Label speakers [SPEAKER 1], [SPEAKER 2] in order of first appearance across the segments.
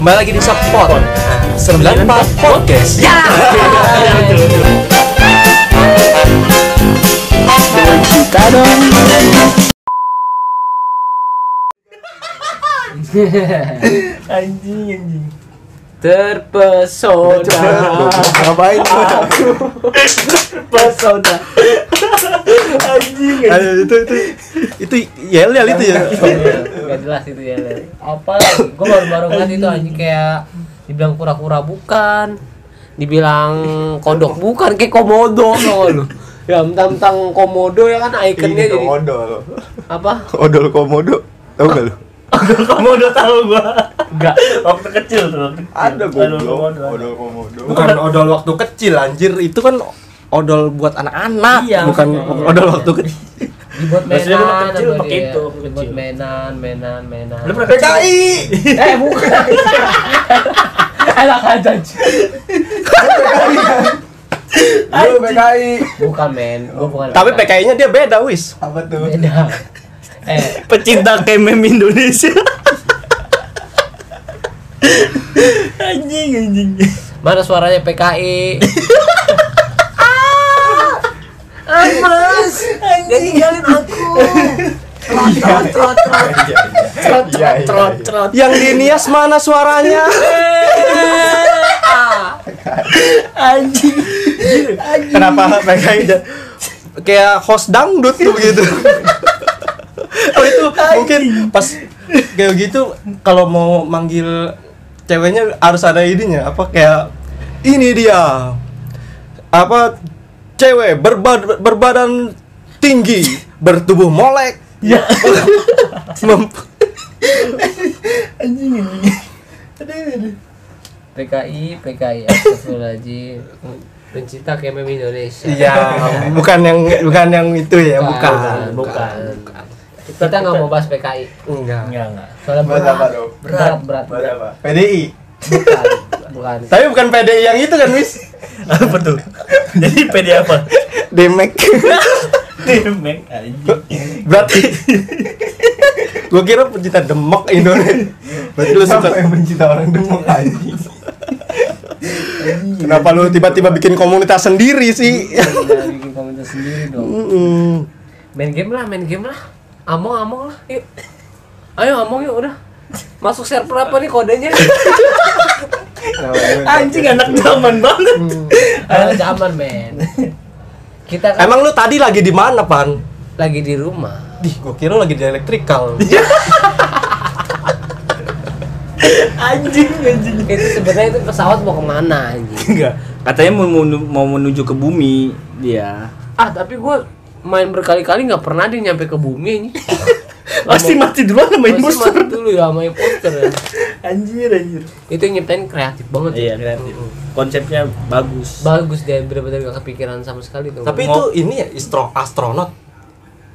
[SPEAKER 1] kembali lagi di Subpot 94 Podcast Ya!
[SPEAKER 2] anjing anjing
[SPEAKER 3] Coba,
[SPEAKER 2] terpesona
[SPEAKER 3] Ngapain tuh?
[SPEAKER 2] pesona anjing anjing
[SPEAKER 3] Aduh, itu itu itu yel yel itu ya.
[SPEAKER 2] nggak jelas itu ya Le. apa gue baru baru ngeliat itu anjing kayak dibilang kura-kura bukan dibilang kodok bukan kayak komodo tau lu ya mentang-mentang komodo ya kan
[SPEAKER 4] Iya,
[SPEAKER 2] ikonnya jadi
[SPEAKER 3] odol.
[SPEAKER 2] apa
[SPEAKER 3] Odol komodo. Tahu enggak lu?
[SPEAKER 5] Kamu udah tahu gua.
[SPEAKER 2] enggak
[SPEAKER 5] Waktu kecil tuh. waktu kecil. Aduh,
[SPEAKER 3] goblok.
[SPEAKER 5] ada.
[SPEAKER 3] Odol komodo.
[SPEAKER 4] Bukan odol waktu kecil anjir, itu kan odol buat anak-anak,
[SPEAKER 5] Iya,
[SPEAKER 4] bukan
[SPEAKER 5] maksudnya.
[SPEAKER 4] odol waktu kecil.
[SPEAKER 2] dibuat
[SPEAKER 5] Maksudnya lu
[SPEAKER 2] mainan
[SPEAKER 5] kecil
[SPEAKER 2] sama
[SPEAKER 5] pakai
[SPEAKER 2] dia.
[SPEAKER 5] itu,
[SPEAKER 2] dibuat
[SPEAKER 5] kecil.
[SPEAKER 2] mainan mainan mainan
[SPEAKER 5] Lu pernah gitu? kecil?
[SPEAKER 2] eh bukan enak aja cuy.
[SPEAKER 3] Lu PKI.
[SPEAKER 2] bukan men gue bukan
[SPEAKER 4] Tapi PKI-nya dia beda wis.
[SPEAKER 3] Apa tuh?
[SPEAKER 2] beda eh
[SPEAKER 4] Pecinta kemem Indonesia.
[SPEAKER 5] Anjing, anjing.
[SPEAKER 2] Mana suaranya PKI?
[SPEAKER 3] Iya, iya.
[SPEAKER 2] Trot.
[SPEAKER 4] Yang di Nias mana suaranya?
[SPEAKER 5] Anjing.
[SPEAKER 4] Kenapa PKI dan kayak host dangdut tuh gitu. oh itu mungkin pas kayak gitu kalau mau manggil ceweknya harus ada ininya apa kayak ini dia apa cewek berba- berbadan tinggi bertubuh molek
[SPEAKER 5] Ya.
[SPEAKER 4] Mem-
[SPEAKER 5] Anjing, anjing. Aduh, aduh.
[SPEAKER 2] PKI, PKI. Astagfirullahaladzim. Pencinta KMM Indonesia.
[SPEAKER 4] iya bukan yang bukan yang itu ya bukan,
[SPEAKER 5] bukan.
[SPEAKER 2] Kita nggak mau bahas PKI.
[SPEAKER 4] enggak
[SPEAKER 5] Enggak, enggak.
[SPEAKER 2] Soalnya
[SPEAKER 3] Bahas
[SPEAKER 2] berat,
[SPEAKER 3] apa dong?
[SPEAKER 2] berat, berat,
[SPEAKER 3] Buat
[SPEAKER 2] berat.
[SPEAKER 3] apa? PDI.
[SPEAKER 2] Bukan, bukan.
[SPEAKER 4] tapi bukan PDI yang itu kan Miss
[SPEAKER 5] Apa tuh? Jadi PD apa?
[SPEAKER 4] Demek
[SPEAKER 5] Demeng, anjing.
[SPEAKER 4] Berarti Gue kira pencinta demek Indonesia Berarti lu suka
[SPEAKER 3] Siapa yang mencinta orang demok anjing?
[SPEAKER 4] Kenapa lu tiba-tiba bikin komunitas sendiri sih?
[SPEAKER 2] Jangan Iya, bikin komentar sendiri dong.
[SPEAKER 4] Mm-mm.
[SPEAKER 2] Main game lah, main game lah. Among, among lah. Yuk. Ayo among yuk udah. Masuk server apa nih kodenya?
[SPEAKER 5] Anjing anak zaman banget.
[SPEAKER 4] Mm.
[SPEAKER 2] Kalau zaman men. Kita kan
[SPEAKER 4] Emang lu tadi lagi di mana, Pan?
[SPEAKER 2] lagi di rumah. Iya,
[SPEAKER 4] Dih, gue kira lu lagi di elektrikal.
[SPEAKER 5] Anjing, anjing.
[SPEAKER 2] itu sebenarnya itu pesawat mau kemana anjing
[SPEAKER 6] Enggak. Katanya mau menuju, mau menuju ke bumi dia.
[SPEAKER 2] ah tapi gue main berkali-kali nggak pernah dia nyampe ke bumi anjing
[SPEAKER 5] Pasti mati duluan sama
[SPEAKER 2] Masih
[SPEAKER 5] imposter.
[SPEAKER 2] mati dulu ya sama imposter ya.
[SPEAKER 5] Anjir, anjir.
[SPEAKER 2] itu yang nyiptain kreatif banget ya.
[SPEAKER 6] Iya, kreatif. Konsepnya bagus.
[SPEAKER 2] bagus dia bener-bener gak kepikiran sama sekali tuh
[SPEAKER 4] Tapi itu ini ya istro astronot.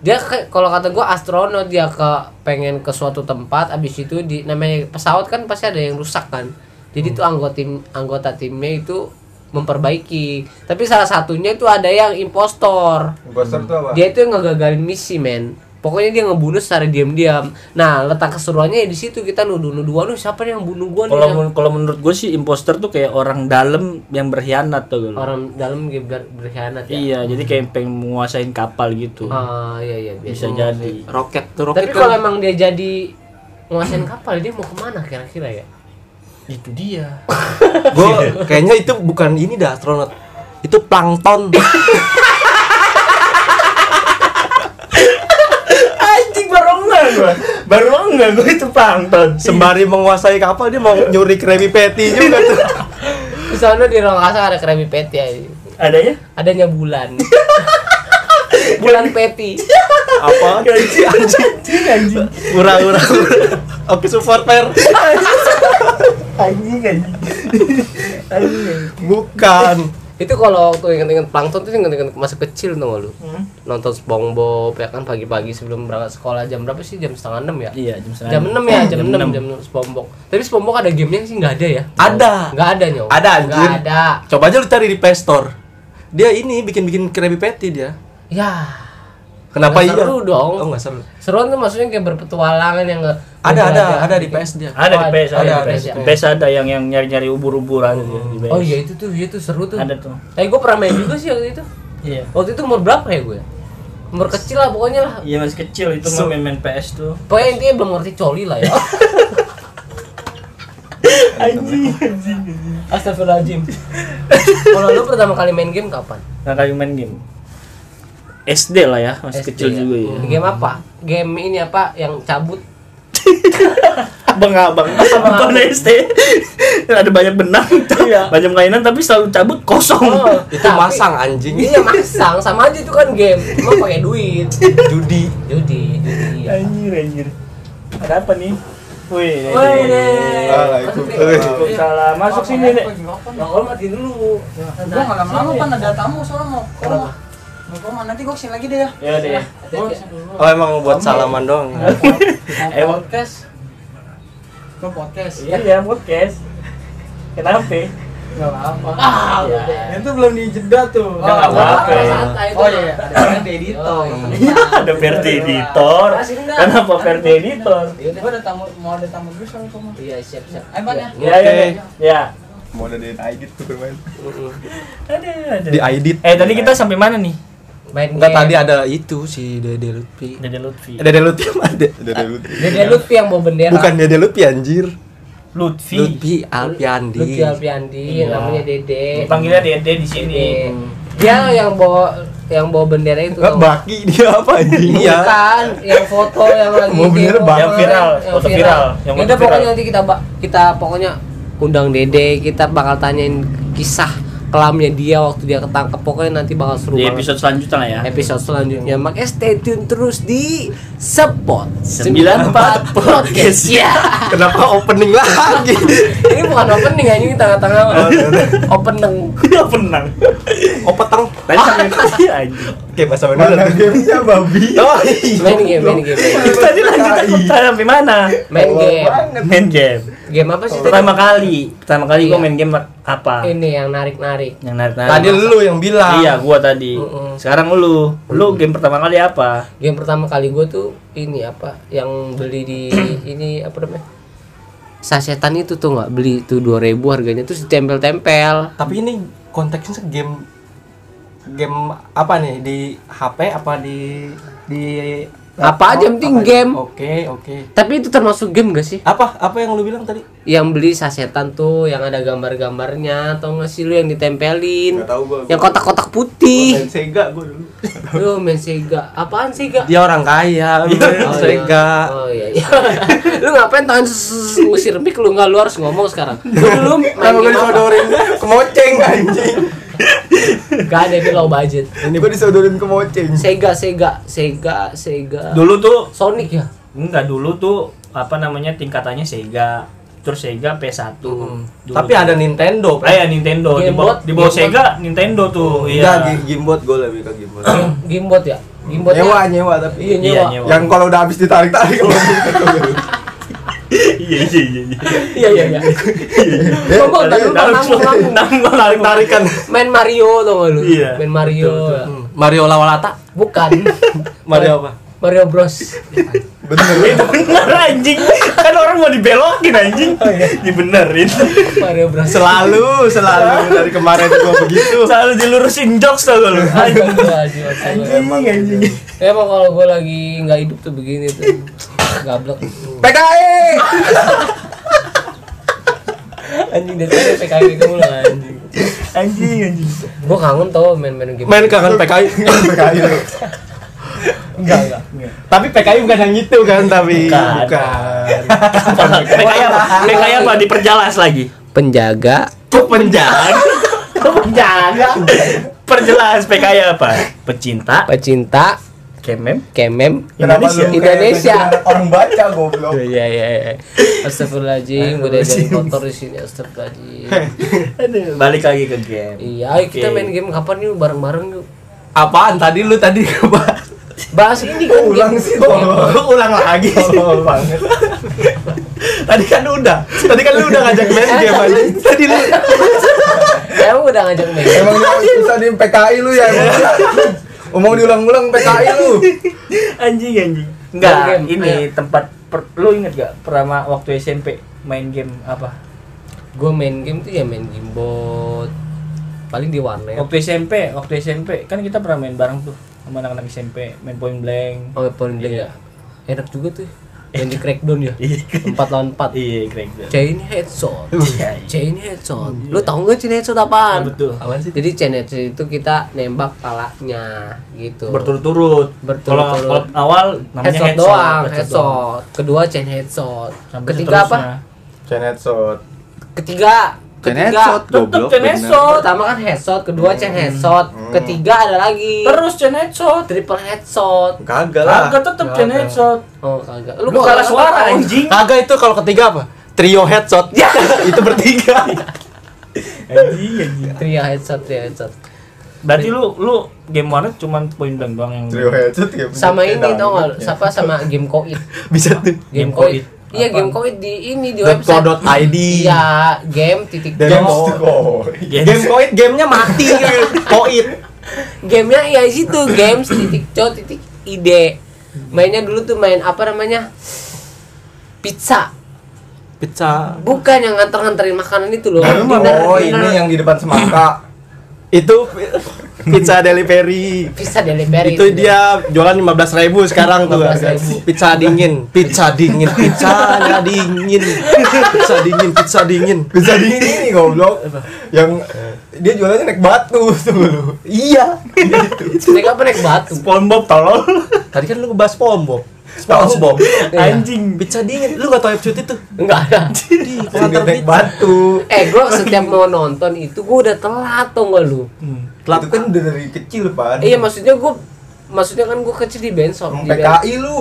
[SPEAKER 2] dia kayak- kalau kata gue astronot dia ke pengen ke suatu tempat abis itu di namanya pesawat kan pasti ada yang rusak kan
[SPEAKER 4] Hmm.
[SPEAKER 2] jadi tuh anggota tim anggota timnya itu memperbaiki tapi salah satunya itu ada yang impostor
[SPEAKER 3] Imposter tuh apa?
[SPEAKER 2] dia itu yang ngegagalin misi men pokoknya dia ngebunuh secara diam-diam nah letak keseruannya ya di situ kita nuduh nuduhan lu siapa nih yang bunuh gua nih
[SPEAKER 6] Kalau
[SPEAKER 2] yang-
[SPEAKER 6] men- kalau menurut gue sih imposter tuh kayak orang dalam yang berkhianat tuh gue.
[SPEAKER 2] orang dalam ge- ber- berkhianat ya
[SPEAKER 6] Iya, jadi kayak pengen menguasain kapal gitu.
[SPEAKER 2] ah iya iya biasa
[SPEAKER 6] Bisa jadi.
[SPEAKER 4] Roket tuh roket. kan-
[SPEAKER 2] tapi kalau emang dia jadi nguasain kapal dia mau kemana kira-kira ya
[SPEAKER 6] Itu dia.
[SPEAKER 4] Gue kayaknya itu bukan ini dah astronot. Itu plankton.
[SPEAKER 5] Anjing baru enggak gua. Baru enggak gua itu Iya. pangton.
[SPEAKER 4] Sembari menguasai kapal dia mau nyuri kremi patty juga tuh.
[SPEAKER 2] di sana di ruang angkasa ada kremi peti ya
[SPEAKER 5] Adanya?
[SPEAKER 2] adanya bulan bulan peti
[SPEAKER 4] Apa?
[SPEAKER 5] Anjing, anjing, anjing.
[SPEAKER 4] Ura ura. ura. Oke support fair.
[SPEAKER 5] Anjing, anjing. Anjing, anjing.
[SPEAKER 4] Bukan.
[SPEAKER 2] itu kalau tuh inget-inget plankton tuh inget-inget masa kecil tuh lu
[SPEAKER 5] Hmm.
[SPEAKER 2] nonton SpongeBob ya kan pagi-pagi sebelum berangkat sekolah jam berapa sih jam setengah enam ya
[SPEAKER 6] Iya, jam
[SPEAKER 2] jam 6 ya jam 6 jam 6 Spombok tapi Spombok ada gamenya sih nggak ada ya
[SPEAKER 4] Ada.
[SPEAKER 2] nggak ada nyawa
[SPEAKER 4] Ada, anjir.
[SPEAKER 2] nggak ada
[SPEAKER 4] Coba aja lu cari di Play Store. Dia ini bikin-bikin kremi patty dia.
[SPEAKER 2] ya
[SPEAKER 4] Kenapa
[SPEAKER 2] Nggak
[SPEAKER 4] iya?
[SPEAKER 2] seru dong.
[SPEAKER 4] Oh, nggak seru.
[SPEAKER 2] Seruan tuh maksudnya kayak berpetualangan yang nge-
[SPEAKER 4] Ada, ada,
[SPEAKER 2] ngejelajah.
[SPEAKER 4] ada di PS dia.
[SPEAKER 6] Ada di
[SPEAKER 2] Oh,
[SPEAKER 6] PS, ada,
[SPEAKER 4] ada,
[SPEAKER 6] di PS.
[SPEAKER 2] ada.
[SPEAKER 6] Di PS ada yang yang nyari-nyari ubur-uburan gitu di PS.
[SPEAKER 2] Oh iya itu tuh, iya tuh seru tuh.
[SPEAKER 6] Ada tuh.
[SPEAKER 2] Eh gue pernah main juga sih waktu itu.
[SPEAKER 6] Iya.
[SPEAKER 2] Waktu itu umur berapa ya gue? Umur kecil lah pokoknya lah.
[SPEAKER 6] Iya masih kecil itu mah main-main PS tuh.
[SPEAKER 2] Pokoknya intinya belum ngerti coli lah ya.
[SPEAKER 6] Anjing, anjing. Astagfirullahaladzim.
[SPEAKER 2] Kalau lu pertama kali main game kapan?
[SPEAKER 6] Nah, kayak main game. SD lah ya, masih
[SPEAKER 2] SD
[SPEAKER 6] kecil
[SPEAKER 2] ya?
[SPEAKER 6] juga ya.
[SPEAKER 2] Game apa? Game ini apa yang cabut?
[SPEAKER 6] Bang abang nonton SD ada banyak benang banyak mainan tapi selalu cabut kosong
[SPEAKER 2] Oh.
[SPEAKER 4] Itu
[SPEAKER 2] tapi-
[SPEAKER 4] masang anjing.
[SPEAKER 2] Iya masang sama aja itu kan game. Cuma pakai duit.
[SPEAKER 4] Judi.
[SPEAKER 2] Judi, judi. Ya.
[SPEAKER 6] anjir anjir ada apa nih Wih,
[SPEAKER 2] Woi
[SPEAKER 6] ini. Waalaikumsalam. Masuk sini, Nek.
[SPEAKER 2] Bang Ol Nah, mati dulu. Nah,
[SPEAKER 7] Gue Nah. nggak lama-lama pan ada tamu soalnya mau koma. Mau koma nanti gue kesini lagi deh ya.
[SPEAKER 6] Ya deh. ya.
[SPEAKER 7] Gue kesini dulu.
[SPEAKER 4] Oh, emang buat salaman doang.
[SPEAKER 7] Mau
[SPEAKER 6] Emang-
[SPEAKER 7] podcast. Gue podcast.
[SPEAKER 6] Iya, ya, podcast. Kenapa?
[SPEAKER 7] Gak apa-apa. Ah, udah
[SPEAKER 6] Iya.
[SPEAKER 7] deh.
[SPEAKER 5] Itu belum dijeda tuh.
[SPEAKER 7] Oh, nggak
[SPEAKER 6] apa-apa.
[SPEAKER 2] Nah, Santai itu.
[SPEAKER 7] Oh iya, iya. ada yang di editor. Ah,
[SPEAKER 6] Iya, ada Verdi Editor. Kenapa Verdi Editor?
[SPEAKER 7] Gue ada tamu, mau ada tamu dulu soalnya koma.
[SPEAKER 2] Iya siap siap. Iya,
[SPEAKER 7] Ayo pan ya.
[SPEAKER 6] Ya, ya, ya. ya.
[SPEAKER 3] Mau ada di edit tuh bermain.
[SPEAKER 6] Ada, ada.
[SPEAKER 4] Di Aidit.
[SPEAKER 6] Eh, tadi kita sampai mana nih?
[SPEAKER 2] Main
[SPEAKER 4] Enggak
[SPEAKER 2] game.
[SPEAKER 4] tadi ada itu si Dede Lutfi.
[SPEAKER 6] Dede Lutfi.
[SPEAKER 4] Dede Lutfi mah ada.
[SPEAKER 3] Udah ada Lutfi.
[SPEAKER 2] Dede Lutfi yang bawa bendera.
[SPEAKER 4] Iya. Bukan Dede Lutfi anjir.
[SPEAKER 6] Lutfi.
[SPEAKER 4] Lutfi Alpiandi.
[SPEAKER 2] Lutfi Alfiandi,
[SPEAKER 6] Iya.
[SPEAKER 2] namanya Dede.
[SPEAKER 6] Panggilnya Dede di sini.
[SPEAKER 2] Dede. Dia yang bawa yang bawa bendera itu. tau
[SPEAKER 4] Nggak,
[SPEAKER 2] nggak?
[SPEAKER 4] Baki dia apa anjing? Iya.
[SPEAKER 2] Bukan, yang foto yang lagi
[SPEAKER 4] Mau bendera
[SPEAKER 2] demo
[SPEAKER 4] bang.
[SPEAKER 6] Yang viral,
[SPEAKER 2] yang
[SPEAKER 6] foto viral, yang
[SPEAKER 2] Yaudah,
[SPEAKER 6] foto
[SPEAKER 2] pokoknya
[SPEAKER 6] viral.
[SPEAKER 2] nanti kita ba- kita pokoknya undang Dede, kita bakal tanyain kisah kelamnya dia waktu dia ketangkep. Pokoknya nanti bakal seru
[SPEAKER 6] Di
[SPEAKER 2] banget.
[SPEAKER 6] episode selanjutnya lah ya.
[SPEAKER 2] Episode selanjutnya makanya stay tune terus di Spot
[SPEAKER 6] 94
[SPEAKER 2] Podcast ya.
[SPEAKER 4] Kenapa opening lagi?
[SPEAKER 2] Ini bukan opening anjing tengah-tengah. iya. Opening.
[SPEAKER 6] Udah penang.
[SPEAKER 4] Opetang.
[SPEAKER 6] Tadi sampai tadi Iya, anjing.
[SPEAKER 4] Oke, bahasa
[SPEAKER 3] Mana
[SPEAKER 4] Madura.
[SPEAKER 3] gamenya babi?
[SPEAKER 4] Oh,
[SPEAKER 2] Main game, main game.
[SPEAKER 6] Tadi lanjut sampai sampai mana?
[SPEAKER 2] Main game.
[SPEAKER 6] Main game.
[SPEAKER 2] Game apa sih tadi?
[SPEAKER 6] Pertama kali, pertama kali gua
[SPEAKER 2] Iya.
[SPEAKER 6] main game apa?
[SPEAKER 2] Ini yang narik-narik.
[SPEAKER 6] Yang narik-narik.
[SPEAKER 4] Tadi lu yang bilang.
[SPEAKER 6] Iya, gua tadi.
[SPEAKER 2] Mm-mm.
[SPEAKER 6] Sekarang lu. Lu game pertama kali apa?
[SPEAKER 2] Game pertama kali gue tuh ini apa yang beli di ini apa namanya? Sasetan itu tuh nggak beli itu 2000 harganya terus ditempel-tempel.
[SPEAKER 4] Tapi ini konteksnya game game apa nih di HP apa di di
[SPEAKER 2] Apa aja, yang penting game.
[SPEAKER 4] Oke, oke.
[SPEAKER 2] Tapi itu termasuk game gak sih?
[SPEAKER 4] Apa apa yang lu bilang tadi?
[SPEAKER 2] Yang beli sasetan tuh yang ada gambar-gambarnya atau nggak sih lu yang ditempelin?
[SPEAKER 3] Nggak tahu gua, Oh,
[SPEAKER 2] Yang
[SPEAKER 3] gua-
[SPEAKER 2] kotak-kotak
[SPEAKER 3] Main
[SPEAKER 2] putih.
[SPEAKER 3] Sega gua dulu.
[SPEAKER 2] Lu main Sega. Apaan Sega?
[SPEAKER 4] Dia orang
[SPEAKER 3] Iya,
[SPEAKER 4] kaya, iya.
[SPEAKER 2] Oh,
[SPEAKER 4] saya enggak.
[SPEAKER 2] iya. Oh iya. iya. lu ngapain tangan sus- sus- ngusir mic lu nggak lu harus ngomong sekarang. Lu dulu main
[SPEAKER 4] Kalau gue
[SPEAKER 2] game apa?
[SPEAKER 4] disodorin kemoceng anjing.
[SPEAKER 2] Gak ada ini low budget.
[SPEAKER 3] Ini gua disodorin ke moceng.
[SPEAKER 2] Sega, Sega, Sega, Sega.
[SPEAKER 6] Dulu tuh
[SPEAKER 2] Sonic ya?
[SPEAKER 6] enggak dulu tuh apa namanya tingkatannya Sega. Terus Sega P1. Dulu
[SPEAKER 4] Tapi ada Nintendo.
[SPEAKER 6] Ah ya Nintendo di
[SPEAKER 2] Game
[SPEAKER 6] bawah
[SPEAKER 2] Boy,
[SPEAKER 6] di bawah
[SPEAKER 2] Game
[SPEAKER 6] Sega Nintendo tuh.
[SPEAKER 3] Enggak,
[SPEAKER 6] Iya.
[SPEAKER 3] gi- gimbot gua lebih ke gimbot.
[SPEAKER 2] Gamebot ya? Gamebot
[SPEAKER 3] Nyewa, nyewa tapi.
[SPEAKER 2] Iya,
[SPEAKER 6] Iya,
[SPEAKER 2] nyewa.
[SPEAKER 6] nyewa.
[SPEAKER 3] Yang kalau udah habis ditarik-tarik kalau
[SPEAKER 6] Iya iya iya.
[SPEAKER 2] Iya, iya, iya. Kok gua tadi lupa nanggung, nanggung.
[SPEAKER 6] Nanggung nanggung tarikan.
[SPEAKER 2] Main Mario tuh lu.
[SPEAKER 6] Iya.
[SPEAKER 2] Main Mario. ya.
[SPEAKER 4] Mario Lawalata.
[SPEAKER 2] Bukan.
[SPEAKER 4] Mario apa?
[SPEAKER 2] Mario Bros.
[SPEAKER 3] bener.
[SPEAKER 6] Bener anjing. Kan orang mau dibelokin anjing. Dibenerin.
[SPEAKER 2] Mario Bros.
[SPEAKER 4] Selalu, selalu dari kemarin gua begitu.
[SPEAKER 6] Selalu dilurusin jokes tau gak lu. Anjing.
[SPEAKER 2] Anjing, anjing. Emang kalau gue lagi nggak hidup tuh begini tuh gablek.
[SPEAKER 4] PKI.
[SPEAKER 2] Anjing dari tadi PKB kamu lah anjing.
[SPEAKER 6] Anjing anjing.
[SPEAKER 2] Gue kangen tau main-main game.
[SPEAKER 4] Main kan kangen PKI.
[SPEAKER 3] PKI lu.
[SPEAKER 2] enggak enggak.
[SPEAKER 4] tapi PKI bukan yang itu kan tapi
[SPEAKER 6] Bukan. PKI apa? PKI apa? Diperjelas lagi.
[SPEAKER 2] Penjaga
[SPEAKER 6] Penjaga. Penjaga. Perjelas PKI apa? Pecinta
[SPEAKER 2] pecinta
[SPEAKER 6] Kemem
[SPEAKER 2] kemem
[SPEAKER 3] Kenapa lu kayak
[SPEAKER 2] Indonesia.
[SPEAKER 4] gitu?
[SPEAKER 3] bener-bener orang baca goblok.
[SPEAKER 2] Iya iya iya. Astagfirullahaladzim, gue udah jadi motor di sini. Astagfirullahaladzim.
[SPEAKER 6] Aduh, balik lagi ke game
[SPEAKER 2] Iya, ayo kita
[SPEAKER 6] Oke.
[SPEAKER 2] main game kapan yuk bareng-bareng yuk.
[SPEAKER 4] Apaan tadi lu tadi coba
[SPEAKER 2] Bahas ini kan
[SPEAKER 3] Ulang
[SPEAKER 2] game.
[SPEAKER 3] sih tolong.
[SPEAKER 6] Oh.
[SPEAKER 4] ulang lagi.
[SPEAKER 3] Tolol banget.
[SPEAKER 4] Tadi kan udah. Tadi kan lu udah ngajak main game anjing. Tadi lu
[SPEAKER 2] Emang udah ngajak main.
[SPEAKER 3] Emang yang susah di PKI lu ya. emang. Omong diulang-ulang PKI lu.
[SPEAKER 6] anjing anjing
[SPEAKER 2] Main
[SPEAKER 6] enggak
[SPEAKER 2] game,
[SPEAKER 6] ini
[SPEAKER 4] Iya.
[SPEAKER 6] tempat per, lu inget gak pertama waktu SMP main game apa
[SPEAKER 2] gue main game tuh ya main gimbot paling di warnet
[SPEAKER 6] waktu SMP waktu SMP kan kita pernah main bareng tuh sama anak-anak SMP main point blank
[SPEAKER 2] oh paling blank ya
[SPEAKER 6] Iya.
[SPEAKER 2] enak juga tuh yang di crackdown ya empat lawan empat
[SPEAKER 6] kan. iya keren banget.
[SPEAKER 2] Chain headshot.
[SPEAKER 6] Iya, iya.
[SPEAKER 2] Chain headshot. Lu tau gak chain headshot apaan?
[SPEAKER 6] Ya, betul.
[SPEAKER 2] Apaan sih? Jadi chain headshot itu kita nembak palanya gitu.
[SPEAKER 6] berturut-turut kalau
[SPEAKER 2] Berturut-turut.
[SPEAKER 6] kalau awal namanya
[SPEAKER 2] headshot,
[SPEAKER 6] headshot,
[SPEAKER 2] doang,
[SPEAKER 6] headshot
[SPEAKER 2] headshot.
[SPEAKER 6] doang.
[SPEAKER 2] Kedua chain headshot.
[SPEAKER 6] Sampai
[SPEAKER 2] Ketiga apa?
[SPEAKER 6] seterusnya.
[SPEAKER 3] Chain headshot.
[SPEAKER 2] Ketiga.
[SPEAKER 8] Chain
[SPEAKER 2] Ketiga.
[SPEAKER 8] headshot,
[SPEAKER 6] tetep
[SPEAKER 8] goblok.
[SPEAKER 6] chain
[SPEAKER 8] bener.
[SPEAKER 6] headshot
[SPEAKER 2] Pertama kan headshot, kedua chain headshot, ketiga ada lagi.
[SPEAKER 6] Hmm. terus chain headshot
[SPEAKER 2] triple headshot.
[SPEAKER 3] Kagak lah.
[SPEAKER 6] agak tetep chain
[SPEAKER 3] Kagak.
[SPEAKER 6] headshot
[SPEAKER 2] Oh, kagak.
[SPEAKER 6] lu kalah suara anjing
[SPEAKER 4] Kagak itu kalau ketiga apa? Trio headshot.
[SPEAKER 3] Ya.
[SPEAKER 4] itu bertiga.
[SPEAKER 6] anjing anjing
[SPEAKER 2] Tria Iya, headshot, tria headshot.
[SPEAKER 6] Eh, iya, berarti lu lu game warnet cuman point blank doang yang
[SPEAKER 3] Trio headshot ya.
[SPEAKER 2] Sama
[SPEAKER 3] punya
[SPEAKER 2] ini
[SPEAKER 3] pedang.
[SPEAKER 2] tau gak? Siapa sama game koit?
[SPEAKER 4] Bisa tuh.
[SPEAKER 2] Game
[SPEAKER 6] Game
[SPEAKER 2] koit.
[SPEAKER 6] Koid.
[SPEAKER 2] Iya
[SPEAKER 6] Apa?
[SPEAKER 2] game koit di ini di
[SPEAKER 4] Dot co
[SPEAKER 2] website.
[SPEAKER 4] dot ID.
[SPEAKER 2] Iya game titik
[SPEAKER 3] Dari
[SPEAKER 2] game.
[SPEAKER 3] Mr. Koi.
[SPEAKER 4] Game koit, gamenya mati. kan? koit.
[SPEAKER 2] Gamenya ya di situ games titik co titik id. Mainnya dulu tuh main apa namanya pizza.
[SPEAKER 4] Pizza.
[SPEAKER 2] Bukan yang nganter-nganterin makanan itu loh. Dinner,
[SPEAKER 3] Oh
[SPEAKER 2] dinner.
[SPEAKER 3] ini yang di depan semangka.
[SPEAKER 4] Itu pi- pizza delivery.
[SPEAKER 2] pizza delivery.
[SPEAKER 4] itu dia jualan 15.000 sekarang tuh
[SPEAKER 2] 15.000.
[SPEAKER 4] pizza dingin pizza dingin pizzanya dingin pizza dingin pizza dingin
[SPEAKER 3] Bisa di ini goblok. Yang dia jualannya naik batu tuh lu.
[SPEAKER 4] iya
[SPEAKER 2] Naik apa naik batu?
[SPEAKER 6] SpongeBob tolol
[SPEAKER 4] tadi kan lu ngebahas pombo
[SPEAKER 3] SpongeBob. Iya.
[SPEAKER 6] anjing
[SPEAKER 4] pizza dingin lu gak tau episode itu
[SPEAKER 2] Enggak ada.
[SPEAKER 4] di
[SPEAKER 3] Sindir
[SPEAKER 4] pengantar
[SPEAKER 3] naik
[SPEAKER 4] pizza
[SPEAKER 3] batu.
[SPEAKER 2] Eh gua setiap mau nonton itu gua udah telat tau gak lu?
[SPEAKER 4] Telat.
[SPEAKER 3] Itu kan udah dari kecil, Pan.
[SPEAKER 2] Iya maksudnya gua maksudnya kan gua kecil di benson. Di
[SPEAKER 3] Emang
[SPEAKER 2] benson.
[SPEAKER 3] PKI lu.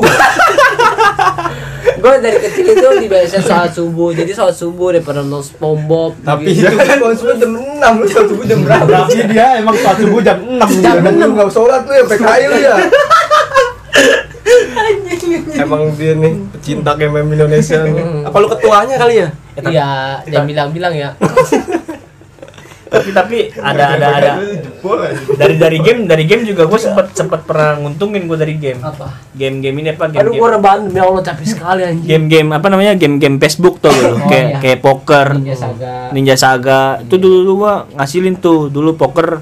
[SPEAKER 2] gue dari kecil itu dibiasain sholat subuh jadi sholat subuh daripada nonton SpongeBob gitu.
[SPEAKER 3] Tapi itu kan konsumsi jam 6, lu sholat subuh
[SPEAKER 4] Iya,
[SPEAKER 3] jam berapa? Iya,
[SPEAKER 5] Tapi dia emang satu subuh jam 6
[SPEAKER 3] Jam lu nggak sholat lu ya, PKI lu ya
[SPEAKER 4] emang dia nih pecinta game Indonesia nih. apa lu ketuanya kali ya
[SPEAKER 2] iya yang bilang-bilang ya
[SPEAKER 6] tapi tapi ada ada ada
[SPEAKER 3] Lu jebol aja
[SPEAKER 6] dari dari game dari game juga gue sempet sempet pernah nguntungin gue dari game
[SPEAKER 2] apa
[SPEAKER 6] game game ini apa game
[SPEAKER 2] aduh gue rebahan demi allah capek sekali anjing
[SPEAKER 6] game game apa namanya game game Facebook
[SPEAKER 2] Oh,
[SPEAKER 6] tuh loh
[SPEAKER 2] iya.
[SPEAKER 6] kayak kayak poker
[SPEAKER 2] Ninja Saga.
[SPEAKER 6] Ninja Saga. itu dulu dulu gua ngasilin tuh dulu poker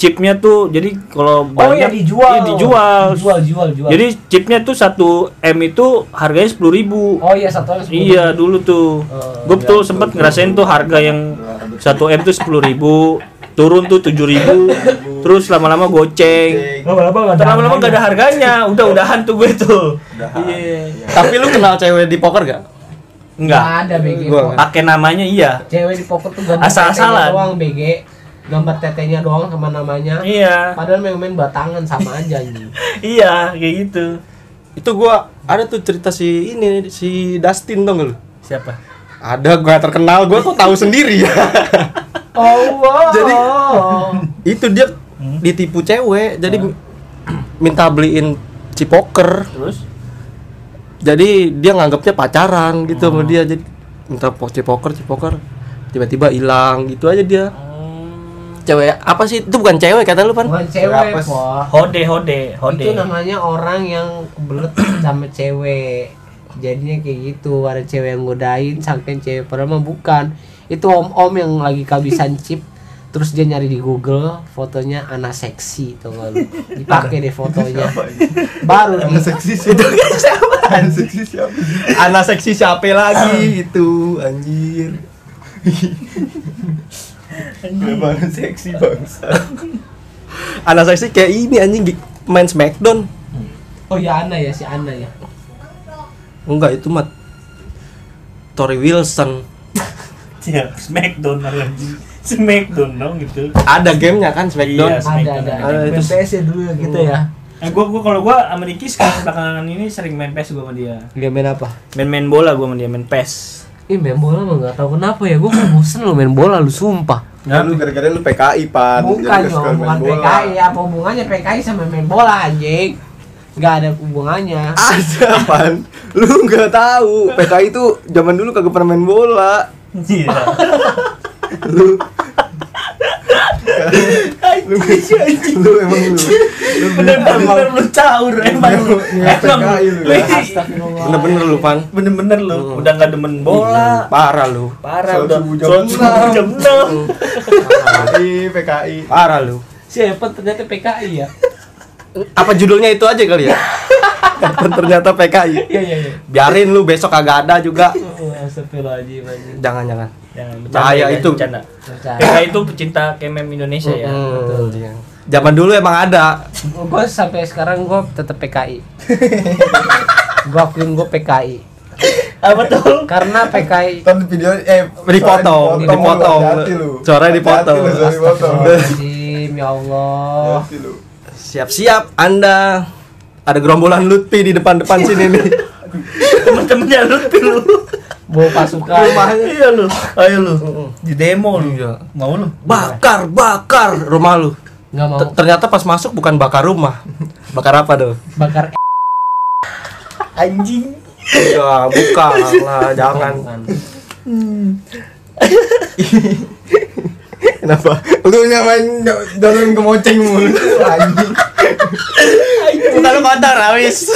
[SPEAKER 6] chipnya tuh jadi kalau
[SPEAKER 2] iya,
[SPEAKER 6] banyak
[SPEAKER 2] dijual.
[SPEAKER 6] iya, dijual.
[SPEAKER 2] Jual, jual, jual.
[SPEAKER 6] jadi chipnya tuh satu m itu harganya sepuluh ribu
[SPEAKER 2] oh iya satu lagi
[SPEAKER 6] Iya dulu tuh, gue
[SPEAKER 2] iya,
[SPEAKER 6] tuh sempet ngerasain tuh harga yang satu m tuh sepuluh ribu, turun tuh tujuh ribu, terus lama-lama goceng,
[SPEAKER 5] Lama-lama
[SPEAKER 6] Terus lama-lama gak ada harganya, udah-udahan tuh gue tuh. Iya.
[SPEAKER 4] tapi lu kenal cewek di poker gak
[SPEAKER 6] Enggak.
[SPEAKER 2] ada BG
[SPEAKER 4] Gua
[SPEAKER 2] kok.
[SPEAKER 4] nggak.
[SPEAKER 6] Pakai namanya iya.
[SPEAKER 2] cewek di poker tuh gambar
[SPEAKER 6] Asal-asalan.
[SPEAKER 2] tetenya doang BG gambar tetenya doang sama namanya
[SPEAKER 6] Iya.
[SPEAKER 2] padahal main-main batangan sama aja anjing
[SPEAKER 6] Iya, kayak gitu.
[SPEAKER 4] itu gua ada tuh cerita si ini si Dustin dong lu
[SPEAKER 6] Siapa?
[SPEAKER 4] ada gua terkenal gua kok tahu sendiri ya jadi itu dia ditipu cewek jadi minta beliin cipoker
[SPEAKER 6] Terus?
[SPEAKER 4] jadi dia nganggapnya pacaran gitu sama dia jadi minta po- cipoker cipoker tiba-tiba hilang gitu aja dia cewek apa sih itu bukan cewek kata lu pan
[SPEAKER 2] bukan cewek
[SPEAKER 3] Berapa sih?
[SPEAKER 2] po
[SPEAKER 6] Hode, hode, hode.
[SPEAKER 2] itu namanya orang yang kebelet sama cewek jadinya kayak gitu ada cewek yang godain saking cewek padahal mah bukan itu om om yang lagi kehabisan chip terus dia nyari di Google fotonya anak seksi tuh lu dipakai deh fotonya baru di
[SPEAKER 3] Anak seksi siapa? Anak seksi siapa?
[SPEAKER 4] kan anak seksi siapa lagi itu anjir
[SPEAKER 3] Memang anak seksi bangsa
[SPEAKER 4] anak seksi kayak ini anjing di- main smackdown
[SPEAKER 2] oh ya Ana ya si Ana ya
[SPEAKER 4] enggak itu mah Tori Wilson
[SPEAKER 6] Iya, Smackdown lagi. Smackdown dong gitu.
[SPEAKER 4] ada gamenya kan smackdown
[SPEAKER 6] Iya.
[SPEAKER 2] ada ada ada
[SPEAKER 4] Ada itu-
[SPEAKER 2] BPS ya dulu ya gitu ya
[SPEAKER 6] Eh, gua, gua kalau gua sama Niki sekarang belakangan ini sering main PES gua sama dia.
[SPEAKER 2] dia main apa
[SPEAKER 6] Main-main bola gua sama dia, main PES.
[SPEAKER 2] Ih main bola mah nggak tahu kenapa ya gue bosen lo main bola lu sumpah
[SPEAKER 3] Ya lu gara-gara lu PKI, Pan
[SPEAKER 2] Bukan
[SPEAKER 3] Jadi gak suka
[SPEAKER 2] dong, bukan
[SPEAKER 3] main bola.
[SPEAKER 2] PKI. Apa hubungannya PKI sama main bola anjing? Gak ada hubungannya.
[SPEAKER 3] Ada, Pan Lu nggak tahu PKI itu zaman dulu kagak pernah main bola
[SPEAKER 6] Iya.
[SPEAKER 3] Lu lu emang lu
[SPEAKER 5] bener-bener lu caur emang lu emang
[SPEAKER 3] PKI lu.
[SPEAKER 5] lu
[SPEAKER 4] Bener-bener lu pan.
[SPEAKER 5] bener-bener lu udah nggak demen bola
[SPEAKER 4] Parah lu.
[SPEAKER 5] parah
[SPEAKER 3] Sholat
[SPEAKER 5] udah
[SPEAKER 3] subuh jam
[SPEAKER 5] sholat subuh
[SPEAKER 3] enam.
[SPEAKER 5] jam enam
[SPEAKER 3] PKI PKI
[SPEAKER 4] Parah lu.
[SPEAKER 7] Siapa ternyata PKI ya?
[SPEAKER 4] Apa judulnya itu aja kali ya? Dan ternyata PKI.
[SPEAKER 7] Iya iya iya. Oh,
[SPEAKER 4] Biarin lu besok kagak ada juga.
[SPEAKER 7] Astagfirullahaladzim anjing.
[SPEAKER 4] Jangan jangan.
[SPEAKER 5] Jangan, bercanda,
[SPEAKER 4] Bahaya
[SPEAKER 5] jangan
[SPEAKER 4] itu.
[SPEAKER 5] bercanda.
[SPEAKER 7] Percaya.
[SPEAKER 5] PKI itu pecinta kemem Indonesia ya
[SPEAKER 4] Hmm, iya. Zaman dulu emang ada.
[SPEAKER 2] Gue sampai sekarang gue tetap PKI. gue akuin gue PKI.
[SPEAKER 5] apa tuh
[SPEAKER 2] Karena PKI
[SPEAKER 3] Nonton video eh
[SPEAKER 4] Dipotong, dipotong. Suaranya dipotong.
[SPEAKER 2] Astagfirullahaladzim ya Allah.
[SPEAKER 4] Siap-siap Anda. Ada gerombolan Lutfi di depan-depan sini nih.
[SPEAKER 5] temen-temennya lu pilu
[SPEAKER 2] Bawa pasukan.
[SPEAKER 5] iya lu ayo lu di demo lu mau lu
[SPEAKER 4] Iya.
[SPEAKER 5] Oh.
[SPEAKER 4] Bakar, bakar rumah lu.
[SPEAKER 2] Nggak mau
[SPEAKER 4] T- Ternyata pas masuk bukan bakar rumah. Bakar apa tuh?
[SPEAKER 2] bakar e-
[SPEAKER 5] anjing
[SPEAKER 4] Ya, bukan lah, jangan.
[SPEAKER 3] Kenapa? Lu nyamain do- dorong ke moceng mulu Anjing
[SPEAKER 4] Entar lu kotor habis.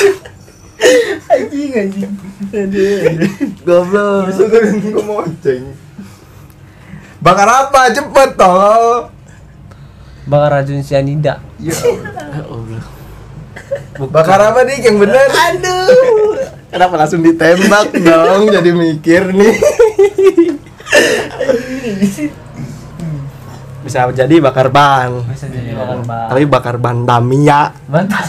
[SPEAKER 5] anjing anjing
[SPEAKER 4] Goblok.
[SPEAKER 3] Lu dorong ke moceng Bakar apa? Cepet tol
[SPEAKER 2] bakar racun sianida.
[SPEAKER 3] Ya Allah. Bakar apa nih yang bener? Aduh
[SPEAKER 4] Kenapa langsung ditembak dong?
[SPEAKER 3] Jadi mikir nih
[SPEAKER 4] Bisa jadi bakar ban.
[SPEAKER 7] Bisa jadi bakar bang.
[SPEAKER 4] Tapi bakar ban Tamiya
[SPEAKER 7] Mantap.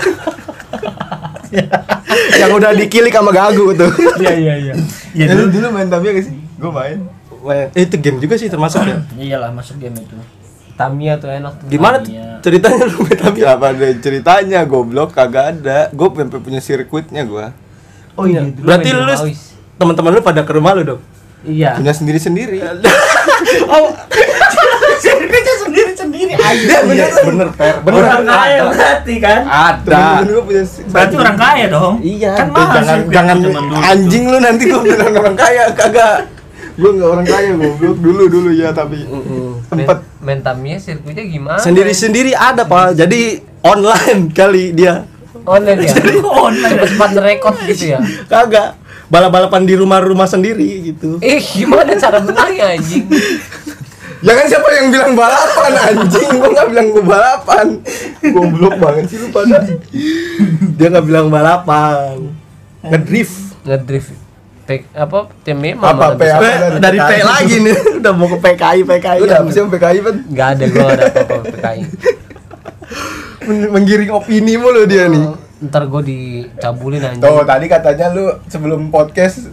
[SPEAKER 4] yang udah dikilik sama Gagu tuh.
[SPEAKER 5] iya iya iya iya
[SPEAKER 3] Ya
[SPEAKER 5] dulu
[SPEAKER 3] lu dulu main Tamiya gak sih? Gue main
[SPEAKER 4] Wah, itu game juga sih termasuk ya.
[SPEAKER 5] iyalah masuk game itu
[SPEAKER 2] Tamia tuh enak tuh.
[SPEAKER 4] Gimana tuh ceritanya lu main Tamiya?
[SPEAKER 3] Gak ada ceritanya goblok kagak ada Gue sampai punya sirkuitnya gue
[SPEAKER 7] Oh iya. dulu
[SPEAKER 4] Berarti
[SPEAKER 7] main
[SPEAKER 4] lu
[SPEAKER 7] di Mawis.
[SPEAKER 4] teman-teman lu pada ke rumah lu dong.
[SPEAKER 7] Iya.
[SPEAKER 3] Punya sendiri-sendiri
[SPEAKER 5] sendiri sendiri sendiri
[SPEAKER 3] Iya bener bener per
[SPEAKER 5] orang kaya berarti kan
[SPEAKER 4] Ada.
[SPEAKER 3] gue punya si-
[SPEAKER 5] berarti orang kaya dong
[SPEAKER 4] Iya.
[SPEAKER 5] kan
[SPEAKER 4] Tuh,
[SPEAKER 5] mahal
[SPEAKER 4] jangan
[SPEAKER 5] sih
[SPEAKER 4] jangan
[SPEAKER 5] zaman dulu
[SPEAKER 4] anjing lu nanti
[SPEAKER 3] gue bilang orang kaya kagak gue nggak orang kaya goblok dulu dulu ya tapi sempet
[SPEAKER 2] Main Tamiya sirkuitnya gimana?
[SPEAKER 4] sendiri-sendiri ada pak. Jadi online kali dia.
[SPEAKER 2] Online ya.
[SPEAKER 5] Jadi online
[SPEAKER 2] Cepat rekod gitu ya.
[SPEAKER 4] Kagak. Balap-balapan di rumah-rumah sendiri gitu.
[SPEAKER 2] Eh gimana cara menangnya anjing?
[SPEAKER 3] ya kan siapa yang bilang balapan anjing gue nggak bilang gue balapan goblok banget sih lu pada
[SPEAKER 4] Dia nggak bilang balapan.
[SPEAKER 5] Eh.
[SPEAKER 4] Kan Ngedrift.
[SPEAKER 2] Ngedrift. Pek apa timnya
[SPEAKER 3] Apa,
[SPEAKER 2] mama
[SPEAKER 3] PA?
[SPEAKER 4] Gue Eh, dari P
[SPEAKER 3] PKI.
[SPEAKER 4] lagi nih. Udah mau ke PKI PKI.
[SPEAKER 3] lu udah apa sih sama PKI kan
[SPEAKER 2] Gak ada gua ada apa-apa PKI.
[SPEAKER 3] Men- menggiring opini mulu dia nih
[SPEAKER 2] Ntar gua dicabulin anjing.
[SPEAKER 3] tuh tadi katanya lu sebelum podcast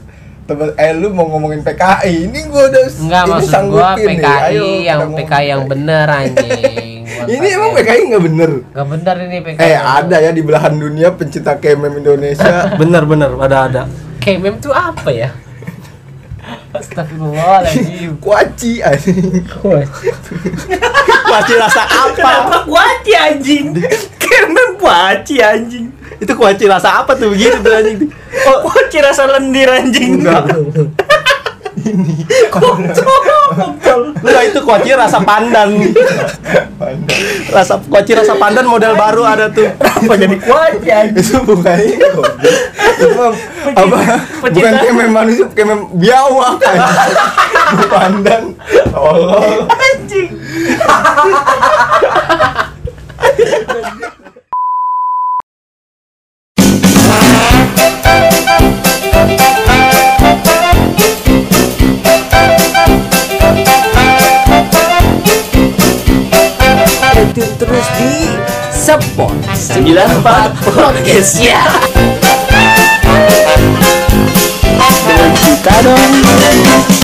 [SPEAKER 3] tebe- eh lu mau ngomongin PKI ini gue udah
[SPEAKER 2] Enggak
[SPEAKER 3] ini
[SPEAKER 2] maksud gua
[SPEAKER 3] sanggupin nih.
[SPEAKER 2] PKI
[SPEAKER 3] Ayo,
[SPEAKER 2] yang
[SPEAKER 3] kita ngomongin
[SPEAKER 2] PKI yang bener anjing. Bukan
[SPEAKER 3] ini emang
[SPEAKER 2] PKI.
[SPEAKER 3] PKI nggak bener
[SPEAKER 2] Gak bener ini PKI.
[SPEAKER 3] eh ada ya di belahan dunia pencinta KMM Indonesia
[SPEAKER 4] Bener-bener ada ada.
[SPEAKER 2] KMM tuh apa ya? Astagfirullahaladzim.
[SPEAKER 3] kuaci anjing
[SPEAKER 4] Kuaci rasa apa?
[SPEAKER 5] kenapa kuaci anjing kemen kuaci anjing
[SPEAKER 4] Itu kuaci rasa apa tuh begitu tuh anjing? Oh,
[SPEAKER 5] kuaci rasa lendir anjing
[SPEAKER 4] enggak.
[SPEAKER 5] Kontol.
[SPEAKER 4] Enggak itu kuaci rasa pandan. Rasa kuaci rasa pandan model baru ada tuh.
[SPEAKER 5] apa jadi kuaci anjing
[SPEAKER 3] itu bukan itu itu mah apa bukan kemen manusia kemen biawak anjing Lu pandan Allah
[SPEAKER 5] anjing
[SPEAKER 2] Itu terus di support
[SPEAKER 5] 94 podcast ya dengan kita dong